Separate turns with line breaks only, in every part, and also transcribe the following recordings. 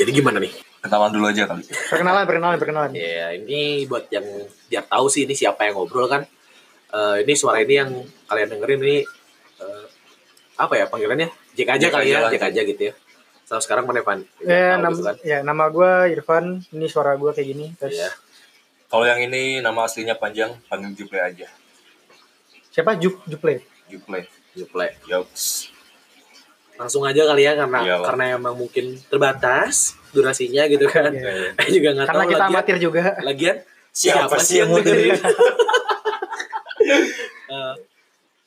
Jadi gimana nih?
Kenalan dulu aja kali.
Perkenalan, perkenalan, perkenalan.
Ya ini buat yang biar tahu sih ini siapa yang ngobrol kan. Eh, ini suara ini yang kalian dengerin ini eh, apa ya panggilannya? Jack aja
Jack
kali ya,
aja lah,
Jack aja gitu ya. Sama sekarang mana Van?
Ya,
Tahu
nam-
gitu kan.
ya, nama gue Irfan, ini suara gue kayak gini. Terus
Iya.
Kalau yang ini nama aslinya panjang, panggil Juple aja.
siapa? Jup, Juple.
Juple.
You play.
Yops.
Langsung aja kali ya karena
Iyalah.
karena emang mungkin terbatas durasinya gitu kan.
Iya.
Saya juga nggak tahu ya.
Karena kita
lagian-
amatir juga.
Lagian siapa, sih yang dengerin? Eh,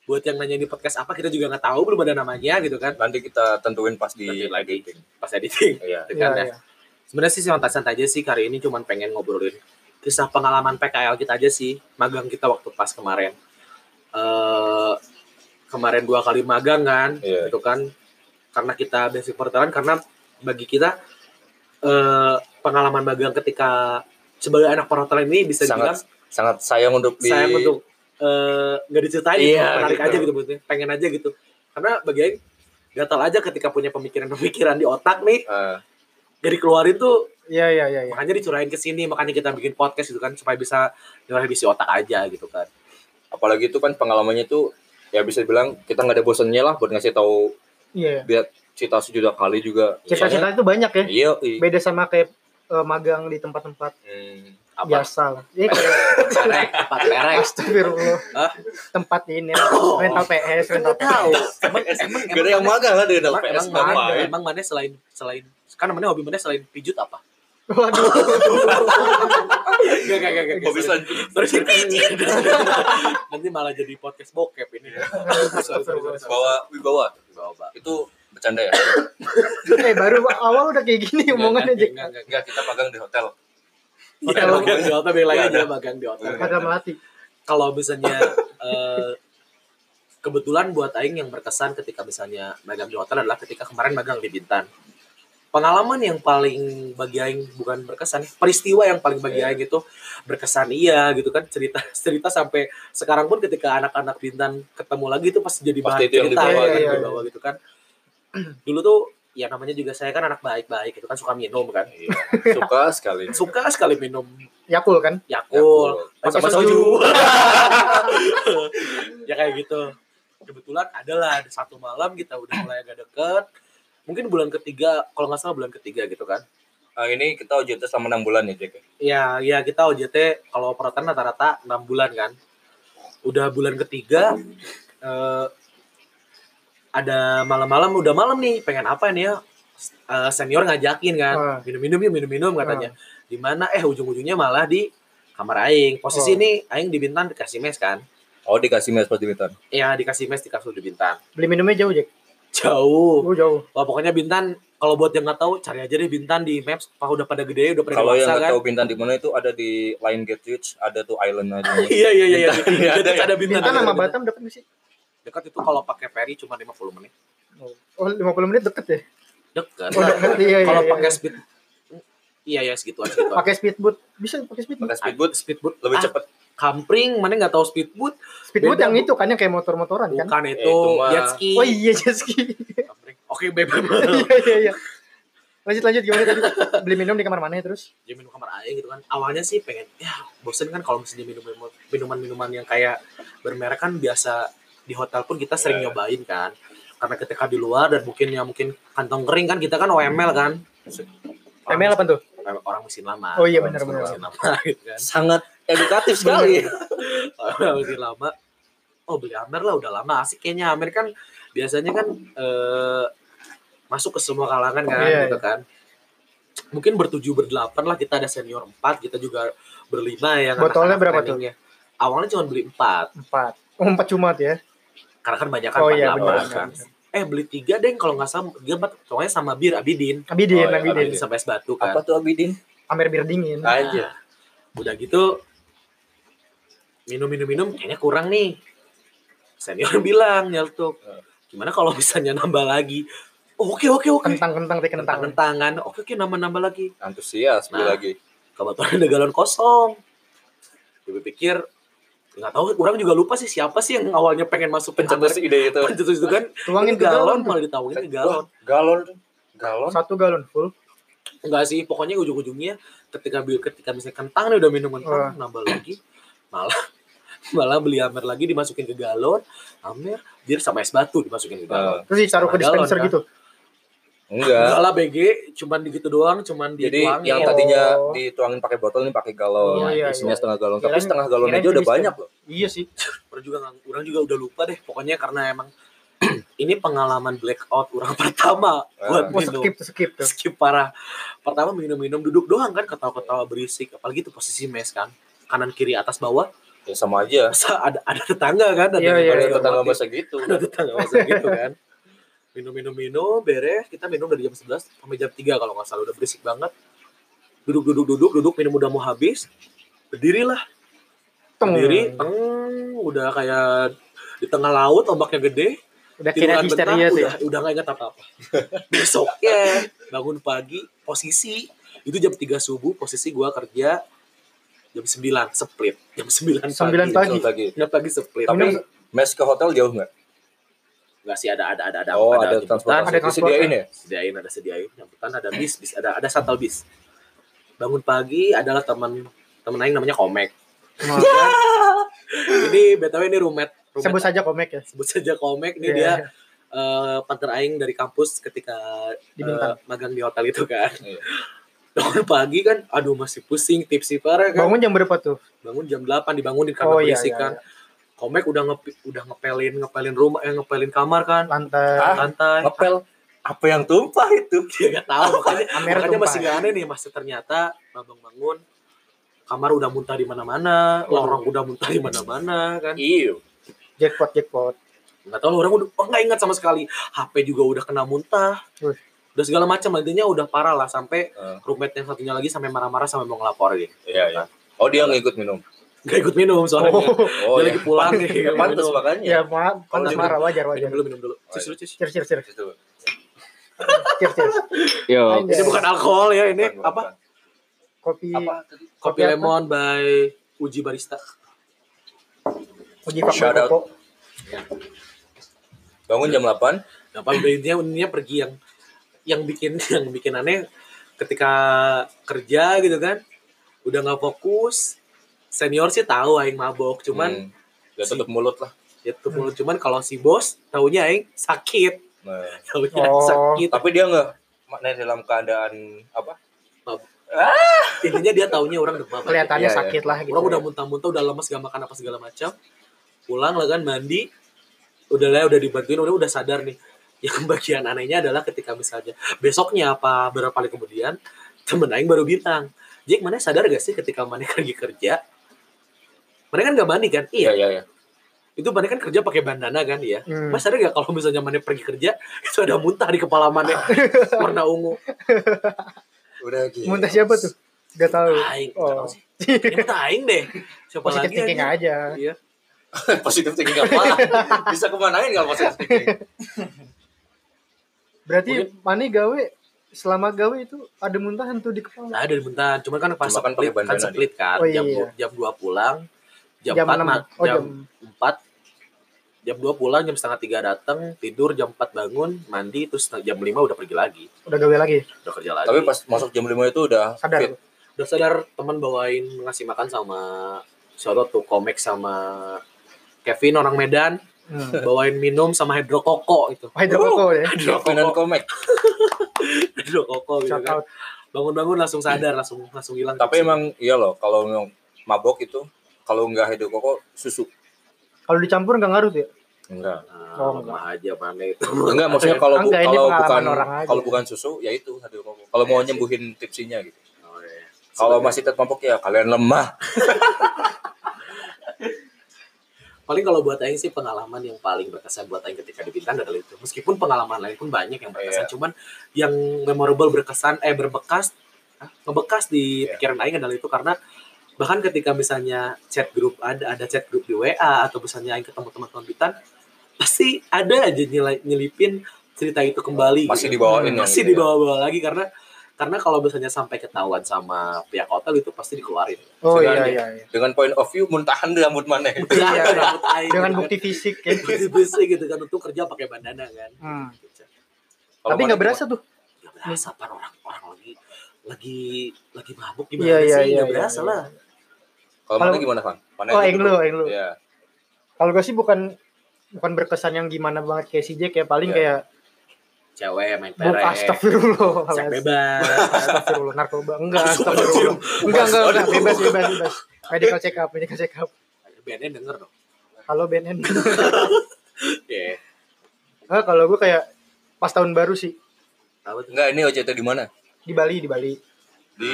buat yang nanya di podcast apa kita juga nggak tahu belum ada namanya gitu kan.
Nanti kita tentuin pas
Nanti
di
Iya, lagi pas editing.
Iya.
Gitu
Iya,
kan, ya.
iya.
Sebenarnya sih santai-santai aja sih kali ini cuman pengen ngobrolin kisah pengalaman PKL kita aja sih, magang kita waktu pas kemarin. eh kemarin dua kali magang kan,
Iya.
gitu kan. Karena kita basic perhotelan karena bagi kita eh pengalaman magang ketika sebagai anak perhotelan ini bisa dibilang
Sangat sangat sayang untuk di
saya untuk eh, nggak diceritain
Iya,
cuma menarik
gitu.
aja gitu maksudnya. pengen aja gitu karena bagian gatal aja ketika punya pemikiran-pemikiran di otak nih
Eh,
gak dikeluarin tuh
Iya, iya, iya. iya.
makanya dicurahin ke sini makanya kita bikin podcast gitu kan supaya bisa nyurahin isi otak aja gitu kan
apalagi itu kan pengalamannya tuh ya bisa dibilang kita nggak ada bosannya lah buat ngasih tahu
Iya.
cerita sejuta kali juga.
Cita-cita itu banyak ya.
Soalnya- Iya. i-
Beda sama kayak eh, magang di tempat-tempat
Hmm.
apa
biasa lah. Ini kayak
perek apa perek
astagfirullah.
Hah? Oh. Kan
Tempat ini rental PS, rental PS.
tahu emang emang
Gak ada yang magang lah dari dalam
emang,
PS
emang,
Bapak.
mana emang mana selain selain kan mana hobi mana selain pijut apa
Waduh.
gak gak gak gak
Hobi selanjutnya.
terus pijut nanti malah jadi podcast bokep ini Iya. Sorry, sorry, sorry, sorry.
Bawa wibawa
Bawa, bawa.
itu bercanda ya.
eh baru awal udah kayak
Iya,
gini omongannya Jack.
Enggak, enggak, enggak.
Enggak kita magang di hotel.
Iya,
Hotel.
magang di hotel bilang
Enggak
aja
ada.
magang di hotel.
Enggak
Kagak melatih.
Kalau misalnya eh, kebetulan buat aing yang berkesan ketika misalnya magang di hotel adalah ketika kemarin magang di Bintan. Pengalaman yang paling bagi aing bukan berkesan, peristiwa yang paling bagi
Iya.
aing itu berkesan iya gitu kan cerita cerita sampai sekarang pun ketika anak-anak Bintan ketemu lagi itu pasti jadi bahan
Pasti itu yang
cerita
dibawa,
ya kan,
iya, iya.
dibawa gitu kan. Dulu tuh ya namanya juga saya kan anak baik-baik itu kan suka minum kan.
Iya. Suka sekali.
Suka sekali minum
Yakul kan?
Yakult.
Pakai sama
soju.
soju.
ya kayak gitu kebetulan adalah ada satu malam kita udah mulai agak deket mungkin bulan ketiga kalau nggak salah bulan ketiga gitu kan
Nah, ini kita OJT selama 6 bulan ya, Jack.
ya ya kita OJT kalau perhatian rata-rata enam bulan kan udah bulan ketiga eh, ada malam-malam udah malam nih pengen apa nih ya S- eh, senior ngajakin kan
Ah.
minum-minum yuk minum-minum katanya di mana eh ujung-ujungnya malah di kamar aing posisi
Oh.
ini aing di Bintan dikasih mes kan
Oh, dikasih mes pas di Bintan.
ya dikasih mes di kasur di Bintan
Beli minumnya jauh Jack.
jauh
Oh jauh.
Wah, pokoknya Bintan kalau buat yang nggak tahu cari aja deh Bintan di maps pak udah pada gede udah pada
Kalau yang
dewasa
nggak
kan
tahu Bintan di mana itu ada di Lion Gate Beach, ada tuh island aja.
iya iya iya iya
Bintan, iya,
dekat
ada
ada Bintan
Bintan
ada
sama
Bintan.
Batam dekat nggak sih?
dekat itu kalau pakai ferry cuma 50 menit
Oh, 50 menit deket ya?
dekat
Oh, deket. Iya, iya,
kalau
iya,
pakai
iya.
speed iya iya segituan segituan
pakai speedboat. Bisa pakai speedboat.
Pakai speedboat
speedboat
lebih
Ah.
cepet.
kampring mana nggak tahu speedboat
Speedboat
Beda,
yang
Bu.
itu kan yang kayak motor-motoran kan?
bukan
Eh,
itu
itu mah-
jet ski
Oh iya jet ski.
Kampring. oke bebas
Iya iya iya. Lanjut lanjut gimana tadi? Beli minum di kamar mana ya terus?
dia minum kamar aing gitu kan awalnya sih pengen ya bosen kan kalau misalnya minum minuman minuman yang kayak bermerek kan biasa di hotel pun kita sering
Iya.
nyobain kan karena ketika di luar dan mungkin ya mungkin kantong kering kan kita kan OML kan Orang-
ML apa tuh?
orang mesin lama
Oh iya,
Orang
benar,
mesin-
benar.
mesin lama gitu kan
Sangat edukatif sekali.
Orang mesin lama oh beli Amer lah udah lama asik kayaknya Amer kan biasanya kan eh, masuk ke semua kalangan kan
Iya,
gitu kan mungkin bertujuh berdelapan lah kita ada senior empat kita juga berlima ya, yang anak-anak
Botolnya berapa tuh?
planningnya. awalnya cuma beli empat
Empat. Oh, empat cuma tuh ya.
karena kan banyak kan
Oh iya
delapan
benar.
kan eh beli tiga deh kalau nggak salah tiga empat soalnya sama bir Abidin
Abidin,
Oh, iya,
Abidin.
Abidin sampai es batu kan
Apa tuh Abidin?
Amer bir dingin.
Ah.
aja. Udah gitu minum minum minum kayaknya kurang nih. Senior bilang nyeltuk. Gimana kalau misalnya nambah lagi? Oh, Oke oke oke.
Kentang-kentang teh kentang.
Kentang kentangan. Oke oke nambah nambah lagi.
Antusias beli
Nah.
lagi.
Kebetulan ada galon kosong. Gue pikir nggak tahu orang juga lupa sih siapa sih yang awalnya pengen masuk
Pencetus ide itu.
pencetus itu kan Ini
Tuangin ke galon.
malah ditawin ke galon
Galon. Galon.
Satu galon full.
Enggak sih, pokoknya ujung-ujungnya ketika bi- ketika misalnya kentang nih udah minum kentang nambah lagi malah malah beli amer lagi dimasukin ke galon amer jadi sama es batu dimasukin ke galon
Terus ditaruh
Sama
ke
galon,
dispenser
kan?
gitu.
Eh, Enggak.
enggak lah BG cuman digitu doang cuman
Jadi
dituangin.
yang
Oh.
tadinya dituangin pakai botol ini pakai galon.
Oh, iya,
Isinya
iya.
setengah galon. Tapi
Kirain-
setengah galon
kirain
aja udah
jenis
banyak loh.
Iya sih.
orang juga nggak- orang juga udah lupa deh pokoknya karena emang ini pengalaman blackout orang pertama buat
Wah,
minum
skip tuh, skip tuh.
skip parah pertama minum-minum duduk doang kan ketawa-ketawa berisik apalagi itu posisi mes kan kanan kiri atas bawah
Ya sama aja.
masa ada ada tetangga kan ada
Iya, iya,
Ada
iya.
tetangga masa gitu.
ada tetangga masa gitu kan minum-minum minum beres kita minum dari jam 11 sampai jam 3 kalau nggak salah udah berisik banget duduk duduk duduk duduk minum udah mau habis berdirilah
Teng.
berdiri teng udah kayak di tengah laut ombaknya gede
Udah
tiduran
kira
bentar
histeria tuh ya.
udah udah nggak ingat apa apa besoknya bangun pagi posisi itu jam 3 subuh posisi gua kerja jam 9 split jam 9 pagi
9 pagi.
Terus lagi.
Jam pagi split
Tapi mes ke hotel jauh nggak?
nggak sih ada ada ada ada
Oh ada
jemputan,
transportasi.
ada
Disediain ya?
sediain ada sediain jemputan ada bis bis ada ada shuttle bis bangun pagi adalah teman teman lain namanya Komek
Nah,
ini btw ini rumet rumet
Sebut saja komek ya.
sebut saja Komek ini
Iya,
dia
iya.
eh partner aing dari kampus ketika
Di
eh,
Bintan.
magang di hotel itu kan.
Iya.
Bangun pagi kan, aduh masih pusing, tipsi parah kan.
Bangun iya, jam berapa tuh? Oh,
Bangun jam 8 dibangunin karena berisik kan. Komek udah nge udah ngepelin ngepelin rumah, eh, ngepelin kamar kan.
Lantai.
Ah.
Oh.
Lantai.
Ngepel. Apa yang tumpah itu?
Dia nggak tahu makanya,
Amer
makanya
tumpah.
masih nggak aneh nih, masih ternyata bangun bangun kamar udah muntah di mana-mana,
Waduh.
lorong udah muntah di mana-mana kan.
Iya.
Jackpot, jackpot.
nggak tahu orang udah oh, nggak ingat sama sekali HP juga udah kena muntah
Wih.
udah segala macam intinya udah parah lah sampai
Eh.
roommate yang satunya lagi sampai marah-marah sampai mau ngelaporin Nah,
Iya iya. Oh dia nggak ikut minum.
nggak ikut minum soalnya
Oh,
Oh
dia lagi pulang nih
Ya,
nggak
pantas
minum.
makanya.
ya maaf.
Kalau
Pantas
dia-
marah, wajar,
minum
wajar.
dulu minum dulu
Oh,
Cis,
iya.
lu, cis.
Cheers, cheers, cheers.
Itu.
Cheers, cheers.
Yo,
Iya,
ini bukan alkohol ya ini
Bukan,
apa
bukan.
Kopi
Apa?
kopi
Kopi apa?
lemon by Uji Barista
uji faktor
Shout out.
kopo.
Bangun jam 8
Nah, apa intinya intinya pergi yang yang bikin yang bikin aneh ketika kerja gitu kan udah nggak fokus senior sih tahu aing mabok cuman
Hmm. Udah tutup mulut lah.
itu mulu cuman kalau si bos taunya aing sakit
Nah.
taunya aing
Oh.
sakit
Tapi dia nggak maknanya dalam keadaan apa?
intinya dia taunya orang demam
Iya,
Kelihatannya
iya.
sakit lah gitu.
orang udah muntah-muntah udah lemes gak makan apa segala macam pulang lah kan mandi udah lah udah dibantuin udah udah sadar nih yang bagian anehnya adalah ketika misalnya besoknya apa berapa kali kemudian temen aing baru bilang Jack mana sadar gak sih ketika mana pergi kerja mana kan gak mandi kan iya
iya iya.
itu mana kan kerja pakai bandana kan ya
Hmm.
mas ada gak kalau misalnya mana pergi kerja itu ada muntah di kepala mana warna ungu
Udah gitu.
Muntah siapa tuh? Gak tahu.
aing nggak tahu
Oh.
sih Ini mah aing deh siapa lagi
Positif thinking
anjing?
aja.
iya
positif thinking apa? Bisa kemanain kalau positif thinking?
Berarti Mani gawe selama gawe itu ada muntahan tuh di kepala.
nah dari bentar cuman kan pas
Cuma kan
split
pakai
kan
bandana
split kan
Oh, iya,
jam dua-
iya.
jam dua pulang jam,
Jam
empat
enam.
nah,
Oh,
jam
jam-
empat jam dua pulang jam setengah tiga datang tidur jam empat bangun mandi terus jam lima udah pergi lagi
Udah gawe lagi.
udah kerja lagi
Tapi pas masuk jam 5 itu udah
Sadar.
fit.
udah sadar teman bawain ngasih makan sama soto tuh komek sama Kevin orang Medan
Hmm.
bawain minum sama hidrokoko itu
Hydro Coco ya.
Kevin dan Komek.
hidrokoko gitu
Shout
kan
out.
bangun-bangun langsung sadar langsung langsung hilang
Tapi emang iya loh kalau ngomong mabok itu kalau nggak hidup koko susu.
Kalau dicampur nggak ngaruh tuh ya?
Enggak.
Nah,
Oh,
lemah aja mana itu
Enggak maksudnya kalau bu-
Enggak, ini
kalau
pengalaman
bukan
orang aja. Iya
kalau bukan susu ya itu hidup koko. Kalau mau nyembuhin tipsinya gitu.
Oh, iya.
Kalau masih tetap mabok ya kalian lemah.
paling kalau buat Aing sih pengalaman yang paling berkesan buat Aing ketika di Bintan adalah itu meskipun pengalaman lain pun banyak yang berkesan
Iya.
cuman yang memorable berkesan eh berbekas ah, ngebekas di
Iya.
pikiran Aing adalah itu karena bahkan ketika misalnya chat grup ada ada chat grup di WA atau misalnya Aing ketemu teman-teman Bintan pasti ada aja nilai nyelipin cerita itu kembali
Masih
gitu.
dibawain yang
masih
gitu ya.
dibawa-bawa lagi karena karena kalau misalnya sampai ketahuan sama pihak hotel itu pasti dikeluarin
Oh iya
Sebenarnya.
iya iya.
Dengan point of view muntahan di rambut mana?
Iya.
Rambut Aing
Dengan
gitu kan.
bukti fisik ya.
Besi-besi gitu kan untuk kerja pakai bandana kan.
Hmm.
Nggak
Kalau
Tapi nggak
mana-
berasa tuh.
berasa pan orang orang lagi lagi lagi mabuk
Iya,
gimana
iya,
sih
iya,
nggak
iya,
berasa
iya.
lah
Kalau
Kalau-
mana gimana, Van? Mana
Oh,
yang
Englo, Englo.
Iya.
Kalau gue sih bukan bukan berkesan yang gimana banget kayak si Jack ya paling
Iya.
kayak
cewek main
buk
ya.
perek
astagfirullah
seks bebas
astagfirullah narkoba enggak
Astagfirullah.
astagfirullah enggak enggak enggak
Aduh.
bebas bebas bebas medical check up medical check up
bandnya denger dong
halo BNN
Iya.
Nah, kalau gue kayak pas tahun baru sih
Apa tuh?
Enggak, ini OJT di mana?
di Bali di Bali
Di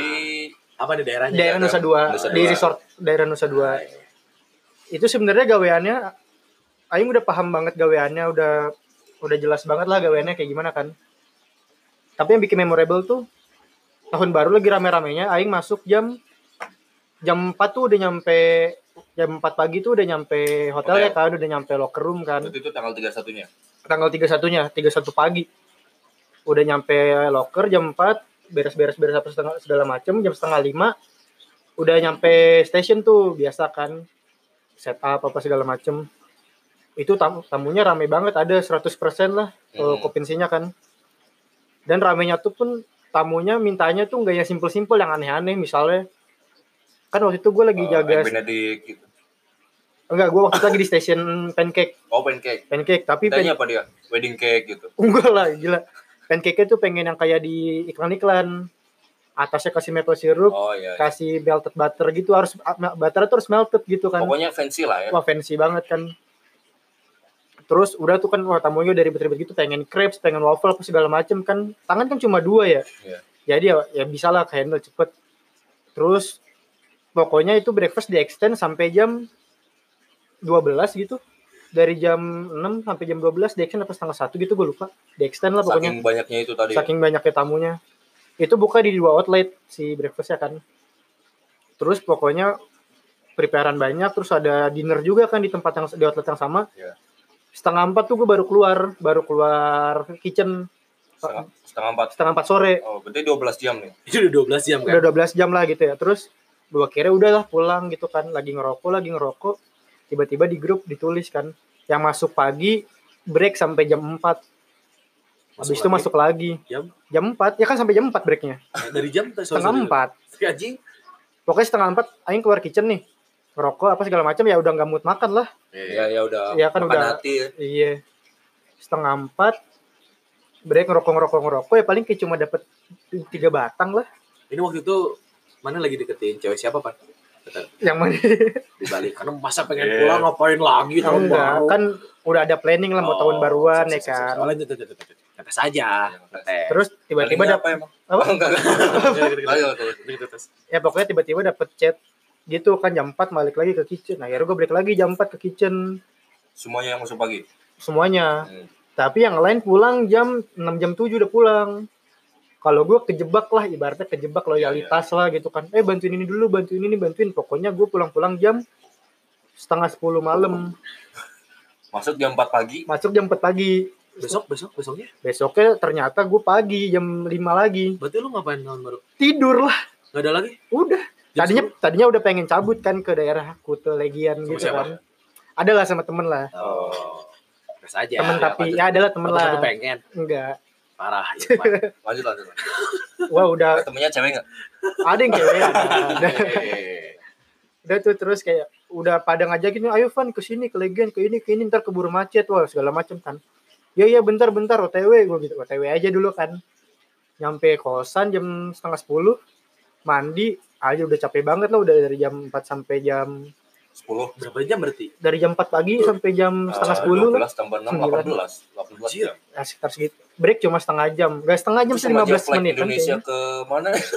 apa di daerahnya
daerah Nusa Dua
Iya, Nusa
di
Dua.
resort daerah Nusa Dua itu sebenarnya gaweannya Aing udah paham banget gaweannya udah udah jelas banget lah gaweannya kayak gimana kan tapi yang bikin memorable tuh tahun baru lagi rame-ramenya Aing masuk jam jam 4 tuh udah nyampe jam 4 pagi tuh udah nyampe hotel ya
Hotel.
kan udah nyampe locker room kan
Waktu itu tanggal 31-nya.
tanggal 31 nya 31 pagi udah nyampe locker jam 4 beres-beres beres apa setengah segala macem jam setengah lima udah nyampe station tuh biasa kan setup apa segala macem itu tam- tamunya rame banget ada 100% lah eh,
Hmm.
kopensinya kan dan ramenya tuh pun tamunya mintanya tuh nggak yang simple-simple yang aneh-aneh misalnya kan waktu itu gue lagi
Eh,
jaga
Egg Benedict gitu.
enggak gue waktu itu lagi di station pancake
Oh, pancake.
pancake tapi
Tanya apa dia? Wedding cake gitu.
Enggak lah, gila. Pancake tuh pengen yang kayak di iklan-iklan. Atasnya kasih maple syrup,
Oh iya. iya.
kasih melted butter gitu. Harus butter tuh harus melted gitu kan.
Pokoknya fancy lah ya.
Wah, fancy banget kan. Terus udah tuh kan wah, tamunya dari ribet-ribet gitu pengen crepes, pengen waffle apa segala macem kan. Tangan kan cuma dua ya.
Iya.
Jadi ya, ya bisa lah handle cepet. Terus pokoknya itu breakfast di extend sampai jam 12 gitu. Dari jam 6 sampai jam 12 di extend apa setengah satu gitu gue lupa. Di extend lah pokoknya
Saking banyaknya itu tadi. ya.
saking banyaknya tamunya itu buka di dua outlet si breakfastnya kan terus pokoknya preparean banyak terus ada dinner juga kan di tempat yang di outlet yang sama
Iya.
setengah empat tuh gue baru keluar baru keluar kitchen Eh,
Setengah, setengah empat.
setengah empat sore
Oh, berarti 12 jam nih.
itu udah 12 jam kan
udah 12 jam lah gitu ya terus gua kira udahlah pulang gitu kan lagi ngerokok lagi ngerokok tiba-tiba di grup ditulis kan yang masuk pagi break sampai jam 4 habis itu
lagi.
masuk lagi
Jam?
jam 4 ya kan sampai jam 4 breaknya
Eh, dari jam
setengah empat
gaji
pokoknya setengah empat aing keluar kitchen nih ngerokok apa segala macam ya udah nggak mood makan lah
Ya ya udah.
Iya, kan
makan
udah.
hati ya.
iya setengah empat break ngerokok ngerokok ngerokok ya paling kayak cuma dapat tiga batang lah
ini waktu itu mana lagi deketin cewek siapa pak
yang mana
di Bali karena masa pengen
Iya.
pulang ngapain lagi tahun
enggak
baru
kan udah ada planning lah mau
Oh,
tahun baruan ya
Sip, sip, sip,
kan
sip. Oh, lanjut lanjut lanjut lanjut. tetes aja
Iya,
tetes
terus tiba-tiba
Planningnya
dapet
apa emang?
apa?
Enggak.
Lanjut, lanjut, lanjut.
Lanjut, lanjut.
Lanjut, tetes.
ya pokoknya tiba-tiba dapet chat gitu kan jam 4 balik lagi ke kitchen akhirnya gue balik lagi jam 4 ke kitchen
Semuanya yang masuk pagi.
semuanya
Hmm.
tapi yang lain pulang jam 6 jam 7 udah pulang kalau gue kejebak lah ibaratnya kejebak loyalitas lah gitu kan eh bantuin ini dulu bantuin ini bantuin pokoknya gue pulang-pulang jam setengah 10 malam
Masuk jam 4 pagi.
masuk jam 4 pagi
besok besok besoknya
besoknya ternyata gue pagi jam 5 lagi
berarti lu ngapain tahun baru
tidur lah
nggak ada lagi
udah
Jam
tadinya tadinya udah pengen cabut kan ke daerah Kuta Legian
Sama
gitu
siapa?
kan adalah sama temen lah
oh tetes aja
temen
Ya,
tapi
lanjut.
ya adalah temen
Satu-satu
lah
pengen
enggak
parah itu, Pak.
Lanjut lanjut. lanjut.
wah udah
Eh, Temennya cewek enggak?
ada yang cewek ada
Eh,
udah tuh terus kayak udah pada ngajakin ayo Van ke sini ke Legen ke ini ke ini ntar keburu macet wah segala macem kan ya ya bentar bentar OTW gue gitu OTW aja dulu kan nyampe kosan jam setengah sepuluh mandi aja udah capek banget lah udah dari jam 4 sampai jam
10.
berapa jam berarti
dari jam 4 pagi sampai jam setengah
Ah,
sepuluh
12
lah
Eh, tambah 6
Sembilan.
18. 18
Anjir.
jam.
nah, sekitar segitu break cuma setengah jam gak setengah jam
Itu
sih
sama
15
aja flight
menit
Indonesia
kan kayaknya.
ke mana?
itu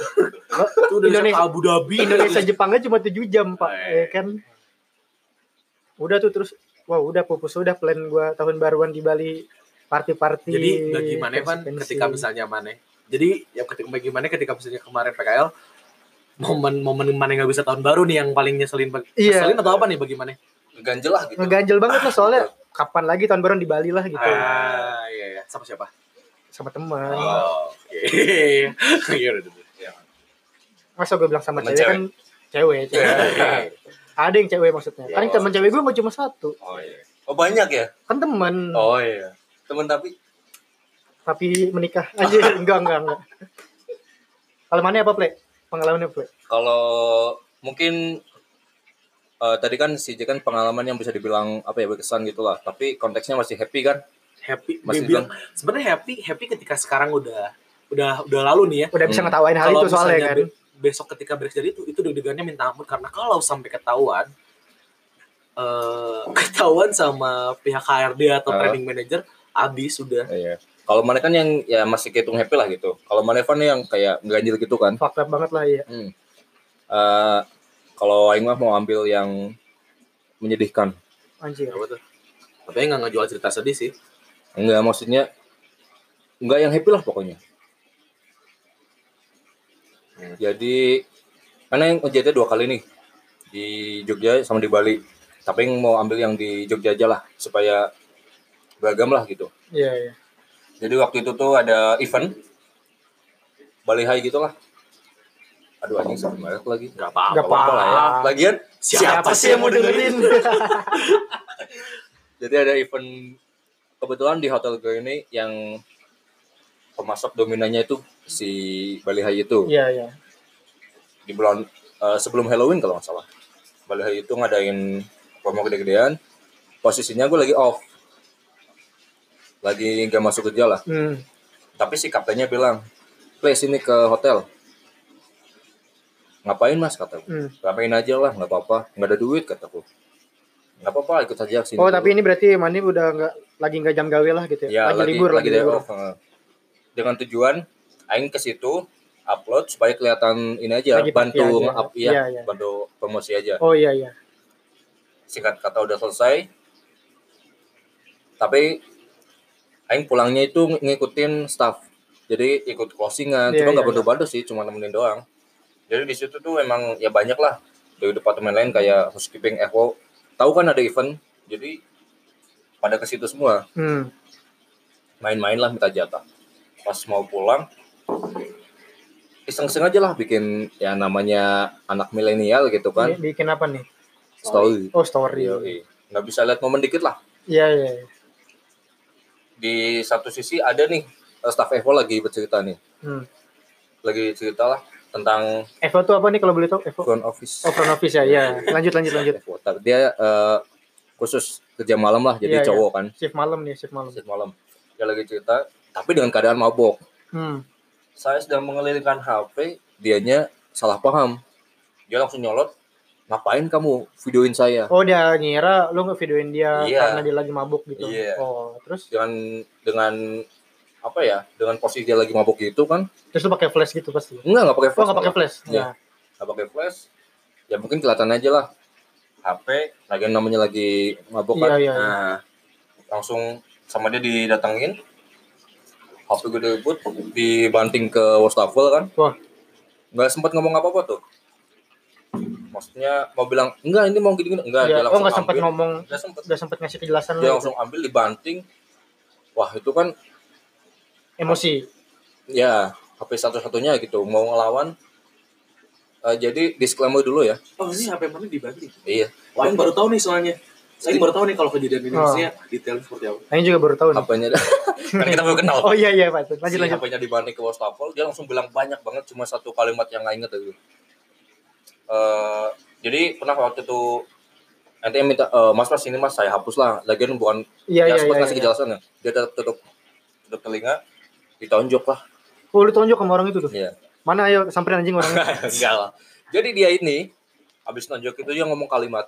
udah
Indonesia-
Indonesia Abu Dhabi
Indonesia Jepangnya cuma 7 jam pak ya
Eh.
kan udah tuh terus wah udah pupus udah plan gua tahun baruan di Bali party-party
jadi bagaimana Van ketika misalnya mana jadi ya ketika bagaimana ketika misalnya kemarin PKL momen-momen mana nggak bisa tahun baru nih yang paling nyeselin bag-
Iya.
nyeselin atau apa nih bagaimana
Ganjel lah gitu.
ngeganjel banget lah soalnya kapan lagi tahun baruan di Bali lah gitu
Iya. ah iya iya sama siapa
sama teman
oh oke Iya,
gitu.
udah, udah.
masa gue bilang sama
Teman
cewek, kan cewek, cewek.
Iya.
ada yang cewek maksudnya
Ya,
kan
oh.
teman cewek gue mau cuma satu
Oh iya. Oh banyak ya?
kan teman
Oh iya. Temen tapi
tapi menikah aja enggak enggak enggak Pengalamannya apa, Ple? Pengalamannya, Ple?
Kalau mungkin eh, tadi kan si J kan pengalaman yang bisa dibilang apa ya berkesan gitulah. Tapi konteksnya masih happy kan?
happy dia
Masih
bilang sebenarnya happy happy ketika sekarang udah udah udah lalu nih ya
Udah bisa
Hmm.
ngetawain hal itu soalnya
misalnya
kan.
be- besok ketika beres jadi itu itu deg-degannya minta ampun karena kalau sampai ketahuan eh ketahuan sama pihak HRD atau
Ah.
training manager abis sudah
Iya. Kalau mana kan yang ya masih kehitung happy lah gitu. Kalau mana Evan yang kayak ganjil gitu kan.
Fucked up banget lah ya.
Hmm. Eh, kalau Aing mah mau ambil yang menyedihkan.
Anjir.
apa tuh tapi nggak ngejual cerita sedih sih
Enggak maksudnya enggak yang happy lah pokoknya.
Hmm.
Jadi karena yang kejadian dua kali nih di Jogja sama di Bali. Tapi yang mau ambil yang di Jogja aja lah supaya beragam lah gitu.
Iya, iya.
Jadi waktu itu tuh ada event Bali High gitu lah. Aduh anjing sampai merek lagi.
nggak apa-apa
Nggak apa-apa
lah ya. Lagian
siapa, sih yang mau dengerin
Jadi ada event kebetulan di Hotel Go ini yang pemasok dominannya itu si Bali High itu
Iya, iya.
di bulan eh, sebelum Halloween kalau nggak salah. Bali High itu ngadain promo gede-gedean. Posisinya gue lagi off, lagi nggak masuk kerja lah.
Hmm.
Tapi si kaptennya bilang, please ini ke hotel. Ngapain mas kataku?
hmm.
Ngapain aja lah, nggak apa-apa, nggak ada duit kataku. Nggak apa-apa, ikut aja sini.
Oh, tapi ini berarti Mani udah nggak lagi nggak jam gawe lah gitu ya.
Ya,
lagi, libur, lagi,
day
libur.
off, heeh. Dengan tujuan aing ke situ upload supaya kelihatan ini aja
Lagi party
bantu
aja.
up
Iya,
ya,
iya.
bantu promosi aja.
Oh iya iya.
Singkat kata udah selesai. Tapi aing pulangnya itu ng- ngikutin staff. Jadi ikut closingan,
Iya,
cuma
iya,
nggak bantu-bantu sih, cuma nemenin doang. Jadi di situ tuh emang ya banyak lah dari departemen lain kayak housekeeping, echo. Tahu kan ada event, jadi pada ke situ semua
Hmm.
main-main lah minta jatah pas mau pulang iseng-iseng aja lah bikin ya namanya anak milenial gitu kan
Ini bikin apa nih?
story
Oh, story.
Yoi. nggak bisa lihat momen dikit lah
Iya iya. iya.
di satu sisi ada nih eh, staff Evo lagi bercerita nih
Hmm.
lagi cerita lah tentang
Evo tuh apa nih kalau boleh tahu? Evo.
front office
Oh, front office ya. Iya. Lanjut lanjut lanjut.
Evo. Tapi dia eh, khusus kerja malam lah jadi
Iya, iya.
cowok kan
Shift malam nih, shift malam.
Shift malam dia lagi cerita tapi dengan keadaan mabok
Hmm.
saya sedang mengelilingkan HP, dianya salah paham. Dia langsung nyolot, ngapain kamu videoin saya?
Oh, dia ngira lu ngevideoin dia
Iya.
karena dia lagi mabuk gitu.
Iya.
Oh, terus
Dengan dengan apa ya? Dengan posisi dia lagi mabuk gitu kan?
terus lu pakai flash gitu pasti.
Enggak, enggak pakai
Oh,
flash.
nggak pakai flash.
Iya.
Ya.
Nggak pakai flash. Ya mungkin kelihatan aja lah. HP, lagi namanya lagi mabuk kan?
Iya, iya, iya.
Nah, langsung sama dia didatengin. HP gue debut, dibanting ke wastafel kan?
Wah,
nggak sempat ngomong apa-apa tuh maksudnya mau bilang enggak ini mau gini-gini enggak dia
iya.
langsung
oh nggak sempat
ambil Iya.
ngomong,
Nggak sempet.
nggak sempat ngasih kejelasan
dia
lu
langsung ambil dibanting wah itu kan
emosi.
ya HP satu-satunya gitu mau ngelawan Eh, jadi disclaimer dulu ya
oh ini HP mana dibanting
iya
wah yang baru tahu nih soalnya saya baru tahu nih kalau kejadian ini
Oh.
maksudnya detail seperti apa
Nah, Ini juga baru tahu nih.
HP-nya kan kita baru kenal
Oh iya iya, Pak.
si
Lanjut lanjut.
HP-nya dibanting ke wastafel dia langsung bilang banyak banget cuma satu kalimat yang nggak inget gitu Eh, jadi pernah waktu itu nanti minta eh, mas mas ini mas saya hapus lah lagian bukan
Iya
ya,
iya
sempat
iya.
kasih
iya.
kejelasan ya. Dia tetap tutup tutup telinga ditonjok lah.
Oh, lu tunjuk sama orang itu tuh.
Iya.
Mana ayo samperin anjing orangnya.
Enggak lah. Jadi dia ini habis nonjok itu dia ngomong kalimat,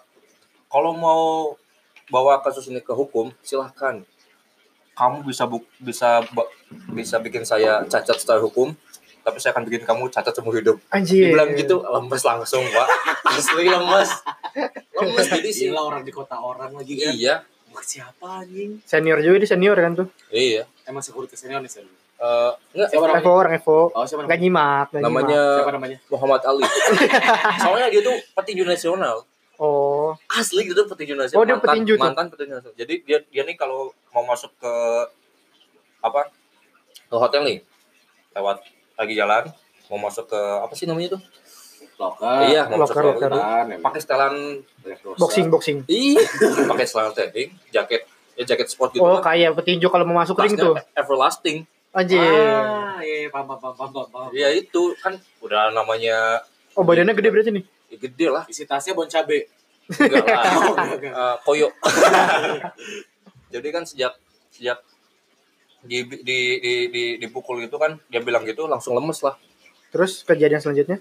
"Kalau mau bawa kasus ini ke hukum, silahkan. Kamu bisa bu- bisa ba- bisa bikin saya cacat secara hukum, tapi saya akan bikin kamu cacat seumur hidup."
Iya.
Anjir.
Dibilang gitu, lemes langsung, Pak. Asli lemes. Lemes jadi sih.
Gila orang di kota orang lagi kan
Iya.
Wah, siapa anjing
Senior juga di senior kan tuh.
Iya.
emang security senior nih senior
Eh, enggak,
siapa namanya
Evo orang Evo.
oh siapa namanya
Gak nyimak, gak nyimak.
namanya
siapa namanya
Muhammad Ali. Soalnya dia tuh petinju nasional.
Oh,
Asli gitu petinju nasional.
Oh, dia
mantan,
petinju tuh?
Mantan petinju nasional. Jadi dia dia nih kalau mau masuk ke apa? Ke hotel nih. Lewat lagi jalan mau masuk ke apa sih namanya tuh?
locker
iya, mau
Ah, locker,
masuk ke
locker.
kan emang.
pakai setelan
boxing boxing.
ih, pakai setelan tebing, jaket ya jaket sport gitu.
Oh, gitu?
kan.
kayak petinju kalau mau masuk ring
Tasnya
tuh.
everlasting.
Anjir.
Ah, iya, iya, paham, paham, paham, paham, paham.
Ya itu kan udah namanya
Oh badannya gede berarti nih.
ya gede lah.
Isi tasnya bon cabe. Oh, iya,
Enggak
Ah.
lah.
Enggak.
Eh, koyo. Jadi kan sejak sejak di, di, di, di, dipukul gitu kan dia bilang gitu langsung lemes lah.
Terus kejadian selanjutnya.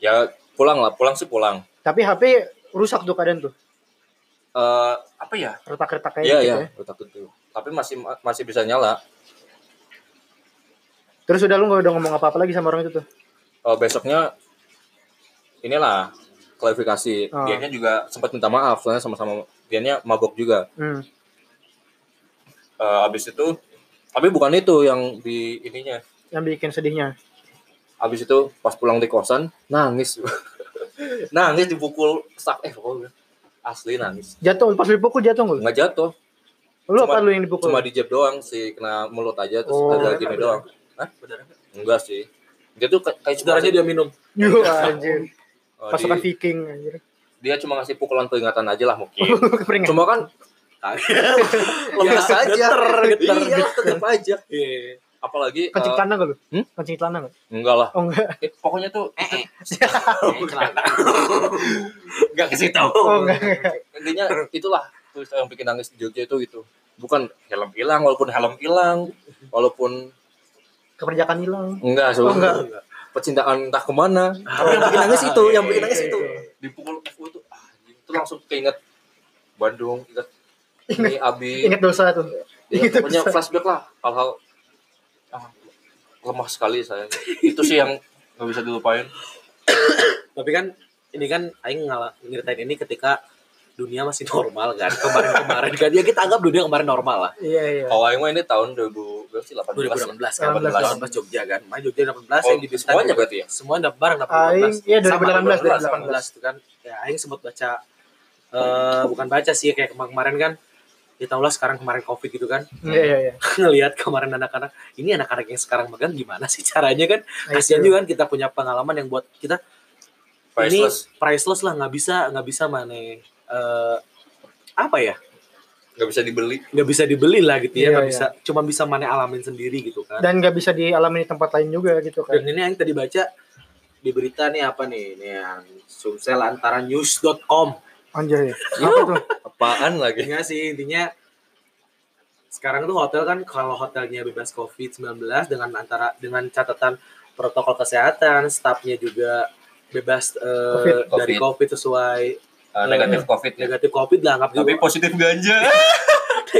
Ya pulang lah, pulang sih pulang.
Tapi HP rusak tuh keadaan tuh.
Eh apa ya?
Retak-retak kayak
Iya
gitu
ya,
ya.
otak itu. Tapi masih masih bisa nyala.
Terus udah lu gak udah ngomong apa-apa lagi sama orang itu tuh.
Eh, besoknya inilah klarifikasi.
Ah.
Dianya juga sempat minta maaf soalnya sama-sama dianya mabok juga.
Hmm.
Eh abis itu tapi bukan itu yang di ininya.
Yang bikin sedihnya.
Abis itu pas pulang di kosan nangis. nangis dipukul sak eh pokoknya. asli nangis.
Jatuh pas dipukul jatuh nggak lu?
Nggak jatuh,
Lu apa
Cuma-
lu yang dipukul?
cuma di jeb doang sih kena mulut aja terus
Oh.
ada gini doang. Hah?
Beneran nggak?
Enggak sih. Dia tuh kayak kayak cuma
Sedaranya dia minum.
Yuh, anjir.
eh,
Pasukan
di-
Viking anjir.
dia cuma ngasih pukulan peringatan aja lah mungkin.
Keperingan.
Iya. Cuma kan lemes
Ya,
aja.
geter, geter,
Iya, tetep aja.
Iya.
Apalagi
Kencing
eh,
celana gak lu?
Hmm?
Kencing celana gak?
enggak lah.
Oh enggak.
Eh, pokoknya tuh
Eh, eh. celana.
enggak kasih tahu.
Oh enggak. enggak.
Intinya itulah tuh yang bikin nangis di Jogja itu itu. Bukan helm hilang walaupun helm hilang, walaupun
Keperjakan hilang.
enggak
Oh
sebelum
enggak.
percintaan entah kemana. yang bikin nangis itu, yang bikin nangis itu.
Iya, iya.
Dipukul aku tuh, ah, itu langsung keinget Bandung, inget ini Abi,
Ingat dosa tuh.
Ya,
Itu
pokoknya
bisa.
flashback lah hal-hal ah, lemah sekali saya itu sih yang nggak bisa dilupain
Tapi kan ini kan aing ngala- ngeritain ini ketika dunia masih normal kan. Kemarin-kemarin kan ya kita anggap dunia kemarin normal lah.
Iya iya.
kalau Aing mah ini tahun 2000 berapa sih 18
2018 kan, 2018
18.
Jogja kan. Main Jogja 18
Oh,
yang di
semuanya berarti ya?
Semua dapat bareng 18.
Aing iya
Sama,
2018.
2018 2018.
itu kan ya aing sempat baca eh bukan baca sih kayak kemarin kemarin kan ya tau lah sekarang kemarin covid gitu kan
Iya iya iya.
ngelihat kemarin anak-anak ini anak-anak yang sekarang megang gimana sih caranya kan
Nah,
kasihan
itu.
juga kan kita punya pengalaman yang buat kita
priceless
ini priceless lah nggak bisa nggak bisa mana eh apa ya
nggak bisa dibeli
nggak bisa dibeli lah gitu ya
Iya,
nggak
iya.
bisa cuma bisa mana alamin sendiri gitu kan
Dan nggak bisa dialami di tempat lain juga gitu
Dan
kan.
ini yang tadi baca di berita nih apa nih? Ini yang Sumsel antara news.com.
Anjay. Apa tuh?
apaan lagi
Enggak sih intinya sekarang tuh hotel kan kalau hotelnya bebas COVID-19 dengan antara dengan catatan protokol kesehatan, stafnya juga bebas eh,
Covid.
dari
Covid.
COVID sesuai
Ah, negatif Iya. covid ya
negatif COVID lah anggap
tapi
juga
positif ganja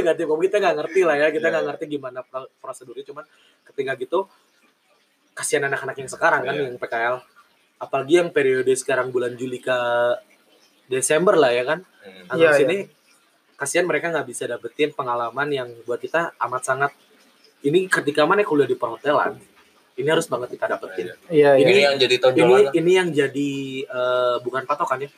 negatif COVID kita nggak ngerti lah ya kita
Iya,
nggak
iya.
ngerti gimana pro- prosedurnya cuman ketika gitu kasihan anak-anak yang sekarang kan
Iya.
yang PKL apalagi yang periode sekarang bulan Juli ke Desember lah ya kan
Hmm.
Anggap
Iya,
sini kasihan mereka nggak bisa dapetin pengalaman yang buat kita amat sangat ini ketika mana kuliah di perhotelan ini harus banget kita dapetin
Iya iya.
ini yang jadi
ini
tonjolan lah.
ini yang jadi eh, bukan patokan ya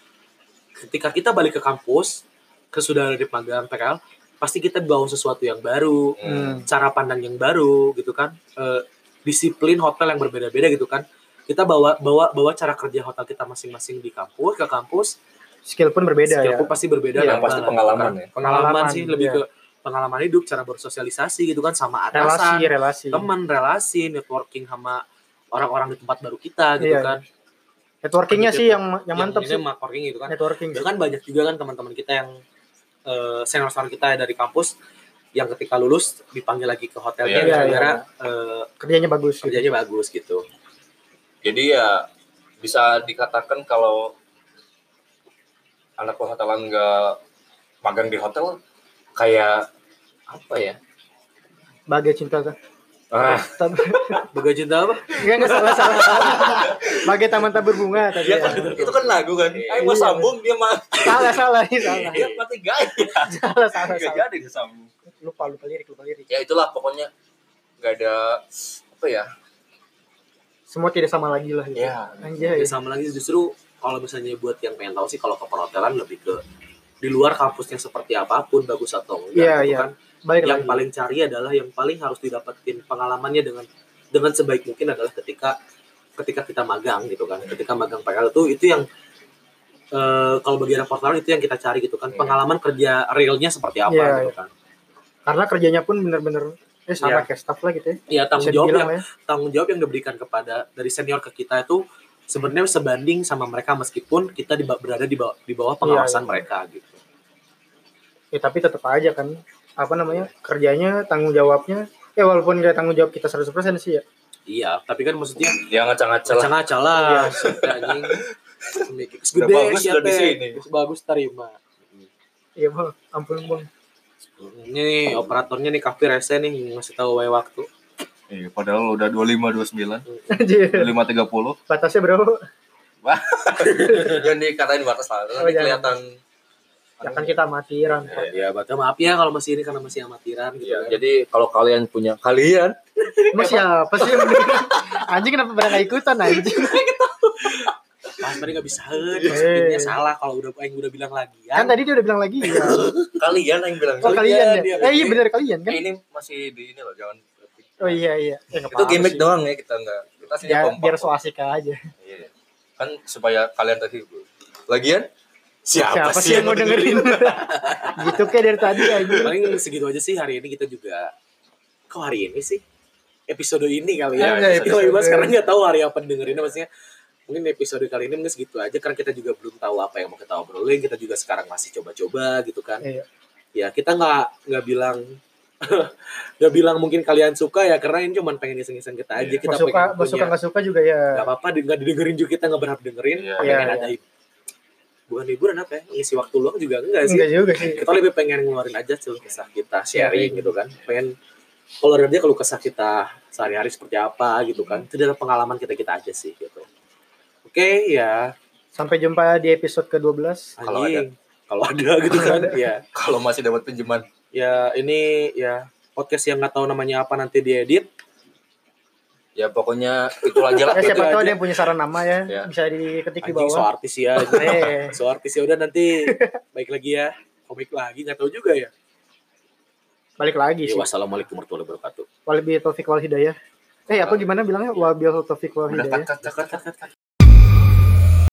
ketika kita balik ke kampus ke sudah di magang PKL pasti kita bawa sesuatu yang baru
Hmm.
Hmm.
cara pandang yang baru gitu kan Eh, disiplin hotel yang berbeda-beda gitu kan kita bawa bawa bawa cara kerja hotel kita masing-masing di kampus ke kampus
Skill pun berbeda
skill
ya.
pun pasti berbeda
Iya,
lah,
pasti
kan.
pengalaman ya.
pengalaman,
Pengalaman,
sih lebih
iya.
ke pengalaman hidup cara bersosialisasi gitu kan sama
Relasi iya.
atasan
relasi.
teman relasi networking sama orang-orang di tempat baru kita gitu
Iya,
kan
Networkingnya sih yang yang mantap
ini
sih. Iya.
networking gitu kan
Networking.
bahkan banyak juga kan teman-teman kita yang eh, senior senior kita dari kampus yang ketika lulus dipanggil lagi ke hotelnya
Iya,
iya,
gara-gara eh,
Kerjanya bagus. gitu.
kerjanya bagus gitu
jadi ya bisa dikatakan kalau anak perhotelan nggak magang di hotel kayak apa ya
Bagai cinta tuh.
ah
Tapi
Bagai cinta apa?
enggak enggak salah salah. salah. Bagai taman tabur bunga tadi.
Iya
Ya.
kan, itu kan lagu kan. Ayo mau
Iya.
sambung dia mah.
Salah salah ini salah.
Dia mati gaya.
Salah salah
Gak
salah.
jadi dia sambung.
Lupa lupa lirik lupa lirik.
Ya itulah pokoknya nggak ada apa ya?
Semua tidak sama lagi lah gitu.
Ya.
Anjay.
Ya, sama lagi justru kalau misalnya buat yang pengen tahu sih kalau ke perhotelan lebih ke di luar kampusnya seperti apapun bagus atau enggak
Iya,
gitu
iya.
kan.
Balik
Yang
lagi.
paling cari adalah yang paling harus didapetin pengalamannya dengan dengan sebaik mungkin adalah ketika ketika kita magang gitu kan. Ketika magang PKL itu itu yang eh, kalau bagi anak perhotelan itu yang kita cari gitu kan.
Iya.
Pengalaman kerja realnya seperti apa
Iya,
gitu kan.
karena kerjanya pun bener-bener eh, sama kayak staff lah gitu
ya
ya bisa
tanggung jawab
dibilang
yang
lah ya
tanggung jawab yang diberikan kepada dari senior ke kita itu sebenarnya sebanding sama mereka meskipun kita di, berada di bawah, di bawah pengawasan
Iya, iya.
mereka gitu
ya tapi tetap aja kan apa namanya kerjanya tanggung jawabnya ya walaupun nggak tanggung jawab kita 100% sih ya
iya tapi kan maksudnya
Ya ngaca-ngaca lah.
ngaca-ngaca lah siapa anjing
Iya. Udah
Gede,
bagus udah
siapa?
di
ya?
sini.
bagus terima
iya bang ampun bang
ini nih, operatornya nih kafir rese nih ngasih tahu wae waktu
Iya, padahal udah 25 29,
Anjir.
25 30.
batasnya berapa
Jangan dikatain batas lah,
Oh,
nanti
jangan.
kelihatan.
ya kan kita amatiran
ya batal maaf ya kalau masih ini karena masih amatiran gitu
Iya,
kan.
jadi kalau kalian punya kalian
emang siapa sih yang mendengar? anjing kenapa pada nggak ikutan anjing
pas mereka nggak bisa
Iya.
masukinnya salah kalau udah yang udah bilang lagi
kan tadi dia udah bilang lagi ya
kalian yang bilang
oh kalian
dia-
ya eh iya benar kalian kan
Eh, ini masih di ini loh, jangan.
oh iya iya ya, nggak
Itu
apa-apa
gimmick
sih.
doang ya kita enggak. Kita sini
biar,
kompak.
biar so asik aja
Iya. Kan supaya kalian terhibur. Lagian siapa,
siapa sih yang mau dengerin gitu kayak dari tadi anjing
paling segitu aja sih hari ini kita juga kok hari ini sih episode ini kali ya
Iya, iya,
kita
episode.
bebas karena nggak tahu hari apa dengerinnya maksudnya mungkin episode kali ini mungkin segitu aja karena kita juga belum tahu apa yang mau kita obrolin kita juga sekarang masih coba-coba gitu kan
Iya.
ya kita nggak nggak bilang nggak bilang mungkin kalian suka ya karena ini cuma pengen iseng-iseng kita aja
Iya.
kita
mau suka
pengen
mau suka nggak suka juga ya
nggak apa-apa di- nggak didengerin juga kita nggak berharap dengerin
Iya.
pengen
Iya,
ada hib- bukan hiburan apa ya ngisi waktu luang juga enggak sih
enggak juga sih
kita lebih pengen ngeluarin aja keluh kesah kita sharing gitu kan pengen kalau ada dia keluh kesah kita sehari-hari seperti apa gitu kan itu dari pengalaman kita kita aja sih gitu oke ya
sampai jumpa di episode ke-12
Kalau
anjing. kalau ada gitu kan ya
Kalau masih dapat pinjaman
ya ini ya podcast yang nggak tahu namanya apa nanti diedit
ya pokoknya itu aja lah
eh
Itu
siapa tahu
aja.
ada yang punya saran nama ya
Iya.
bisa diketik di
anjing so
bawah
artis ya anjing.
eh
so artis ya udah nanti baik lagi ya komik lagi nggak tahu juga ya,
balik
ya
lagi Iya sih
wassalamualaikum warahmatullahi wabarakatuh
wabil taufik wal hidayah eh apa gimana bilangnya wabil taufik wal
udah
hidayah
cut cut cut cut, cut.